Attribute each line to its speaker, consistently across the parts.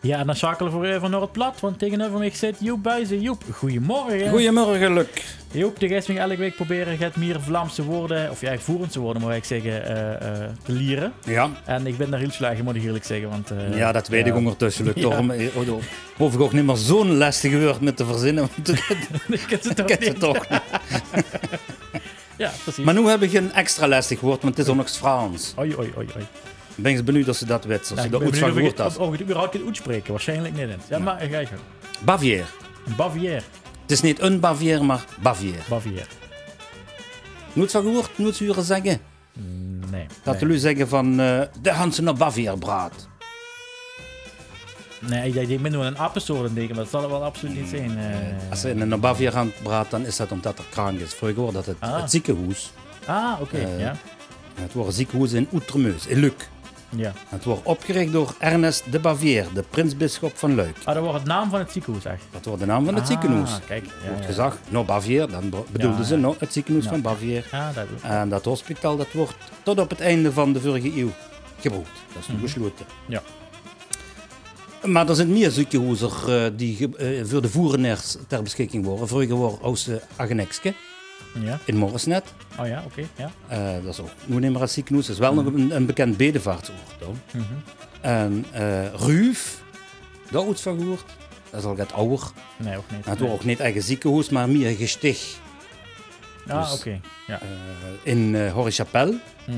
Speaker 1: Ja, dan schakelen we even naar het plat, want tegenover mij zit Joep Buizen. Joep, goedemorgen.
Speaker 2: Goedemorgen, Luc.
Speaker 1: Joep, de gast elke week proberen gaat meer Vlaamse woorden, of ja, Voerendse woorden moet ik zeggen, eh, eh, te leren.
Speaker 2: Ja,
Speaker 1: En ik ben daar heel slecht in, moet ik eerlijk zeggen. Want, eh,
Speaker 2: ja dat weet ik ondertussen, Luc.
Speaker 1: Ja.
Speaker 2: Daarom eh, oh, oh, hoef ik ook niet meer zo'n lastig woord met te verzinnen, want ik
Speaker 1: ik ken ze toch
Speaker 2: ken
Speaker 1: niet.
Speaker 2: het toch niet.
Speaker 1: Ja, precies.
Speaker 2: Maar nu heb ik een extra lastig woord, want het is ook nog eens Frans.
Speaker 1: Oei, oei, oei, oei.
Speaker 2: Ik ben eens benieuwd of ze dat weet, als
Speaker 1: Nou,
Speaker 2: ze
Speaker 1: ik
Speaker 2: dat
Speaker 1: Nou, ben
Speaker 2: goed van
Speaker 1: benieuwd
Speaker 2: gehoord
Speaker 1: of
Speaker 2: had.
Speaker 1: ik- of ik het überhaupt kan uitspreken. Waarschijnlijk niet. Ja, maar eh, ga je gang.
Speaker 2: Bavier.
Speaker 1: Bavière.
Speaker 2: Het is niet een Bavier, maar Bavier.
Speaker 1: Bavière.
Speaker 2: Nooit van gehoord, nooit huren zeggen.
Speaker 1: Nee.
Speaker 2: Dat
Speaker 1: nee.
Speaker 2: jullie zeggen van eh, de Hansen naar Bavier braad.
Speaker 1: Nee, ik denk- ik ben nu aan een appensoort denken, maar dat zal het wel absoluut niet zijn. eh.
Speaker 2: Als ze in een Bavier gaan braad, dan is dat omdat er kraan is. Vroeger hoorde dat het,
Speaker 1: Ah.
Speaker 2: het ziekenhuis.
Speaker 1: ah, oké.
Speaker 2: Eh.
Speaker 1: ja.
Speaker 2: Het wordt een ziekenhuis in Outremeus, in Luc.
Speaker 1: ja.
Speaker 2: Het wordt opgericht door Ernest de Bavier, de prinsbisschop van Luik.
Speaker 1: Ah, dat wordt het naam van het ziekenhuis echt.
Speaker 2: Dat wordt de naam van het
Speaker 1: Ah,
Speaker 2: ziekenhuis.
Speaker 1: kijk, ja,
Speaker 2: wordt
Speaker 1: ja.
Speaker 2: gezag, nou Bavier, dan be- bedoelden
Speaker 1: Ja,
Speaker 2: ze
Speaker 1: ja.
Speaker 2: nou het ziekenhuis
Speaker 1: Ja.
Speaker 2: van Bavier.
Speaker 1: Ja, dat is
Speaker 2: En dat hospitaal dat wordt tot op het einde van de vorige eeuw gebruikt. Dat is nu besloten.
Speaker 1: Mhm. Ja.
Speaker 2: Maar er zijn meer ziekenhuizen eh, die ge- eh, voor de voereners ter beschikking worden. Vroeger was Oost Agenekske
Speaker 1: Ja.
Speaker 2: in Morrisnet.
Speaker 1: Oh ja, oké. Ja.
Speaker 2: Eh, dat is ook nu niet meer als ziekenhuis. Dat is wel nog een, een bekend bedevaartsoord. hoor.
Speaker 1: Mhm.
Speaker 2: En eh Ruuf, daar iets van gehoord. Dat is al wat ouder.
Speaker 1: Nee, ook niet.
Speaker 2: Nou, Het
Speaker 1: Nee.
Speaker 2: was ook niet eigen ziekenhuis, maar meer gesticht
Speaker 1: Ah,
Speaker 2: dus-
Speaker 1: oké. Ja.
Speaker 2: eh, in eh Horrechapelle.
Speaker 1: Mhm.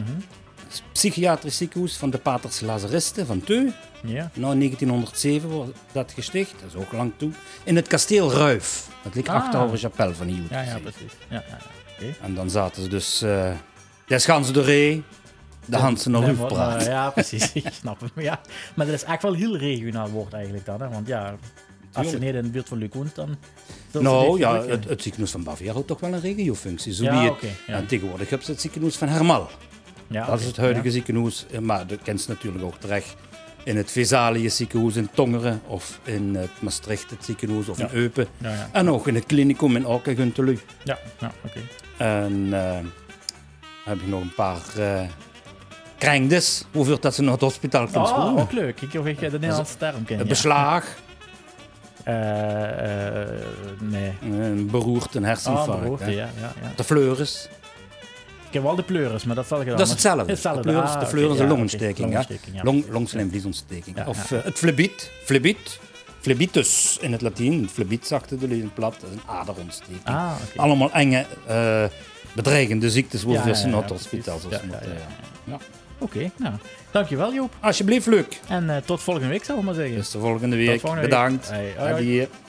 Speaker 2: Het is een Psychiatrisch ziekenhuis van de Paters Lazaristen van Teu.
Speaker 1: Ja.
Speaker 2: Nou, in 1907 wordt dat gesticht, dat is ook lang toe. In het kasteel Ruif. Dat ligt
Speaker 1: Ah.
Speaker 2: achter Horrechapelle van de Jood.
Speaker 1: Ja, ja, precies. Ja, ja, ja. Oké.
Speaker 2: En dan zaten ze dus... eh des Ganzen de Ree, de Hansen naar
Speaker 1: Nee,
Speaker 2: Ruuf
Speaker 1: maar- eh,
Speaker 2: praat.
Speaker 1: maar- Ja, precies. Ik snap het. Maar, ja. maar dat is echt wel een heel regionaal woord eigenlijk dan. Hè? Want ja, als je
Speaker 2: Tuurlijk.
Speaker 1: niet in de buurt van Luc woont, dan... dan is
Speaker 2: Nou
Speaker 1: dit
Speaker 2: ja,
Speaker 1: gelukkig.
Speaker 2: het, het ziekenhuis van Baviera had toch wel een regiofunctie. Zo
Speaker 1: Ja,
Speaker 2: wie het-
Speaker 1: oké, ja.
Speaker 2: En tegenwoordig heb je het ziekenhuis van Hermal.
Speaker 1: ja,
Speaker 2: Dat is
Speaker 1: Ah, oké.
Speaker 2: het huidige
Speaker 1: Ja.
Speaker 2: ziekenhuis, eh, maar dat kent ze natuurlijk ook terecht in het Vesalië ziekenhuis in Tongeren of in het Maastricht het ziekenhuis of
Speaker 1: Ja.
Speaker 2: in Eupen.
Speaker 1: Ja, ja.
Speaker 2: En ook in het clinicum in Alkeguntelu.
Speaker 1: Ja, ja, oké.
Speaker 2: En eh, heb je nog een paar eh krijngdes, hoeveel dat ze naar het hospitaal kunnen
Speaker 1: Oh,
Speaker 2: schoenen.
Speaker 1: ook leuk. Kijk of ik de Nederlandse term ken.
Speaker 2: Een
Speaker 1: ja.
Speaker 2: beslaag,
Speaker 1: Eh, eh, nee.
Speaker 2: een beroerd, een
Speaker 1: Ah,
Speaker 2: herseninfarct.
Speaker 1: beroerte,
Speaker 2: hè.
Speaker 1: ja, ja, ja.
Speaker 2: De fleuris,
Speaker 1: Ik heb wel de pleuris, maar dat zal ik dan
Speaker 2: dat is
Speaker 1: maar-
Speaker 2: hetzelfde.
Speaker 1: Hetzelfde.
Speaker 2: De pleuris,
Speaker 1: Ah,
Speaker 2: de
Speaker 1: oké,
Speaker 2: fleuris
Speaker 1: ja,
Speaker 2: een
Speaker 1: oké.
Speaker 2: longontsteking. hè.
Speaker 1: Longontsteking, ja.
Speaker 2: Long, longslymvliesontsteking.
Speaker 1: Ja,
Speaker 2: of
Speaker 1: ja.
Speaker 2: eh, het flebiet, flebiet, flebitus in het Latijn. Flebiet zachte de leeuw plat, dat is een aderontsteking.
Speaker 1: Ah, oké.
Speaker 2: Allemaal enge, eh, bedreigende ziektes worden
Speaker 1: Ja,
Speaker 2: ja,
Speaker 1: ja,
Speaker 2: ze
Speaker 1: ja,
Speaker 2: naar het
Speaker 1: precies.
Speaker 2: hospitaal. zoals
Speaker 1: Ja,
Speaker 2: ze moeten,
Speaker 1: ja, ja,
Speaker 2: ja.
Speaker 1: ja. Oké, nou. Dankjewel Joop.
Speaker 2: Alsjeblieft, Luc.
Speaker 1: En eh, tot volgende week, zal ik maar zeggen.
Speaker 2: Dus de volgende
Speaker 1: Tot
Speaker 2: week.
Speaker 1: volgende week.
Speaker 2: Bedankt.
Speaker 1: Hey, hoi, hoi.
Speaker 2: Adieu.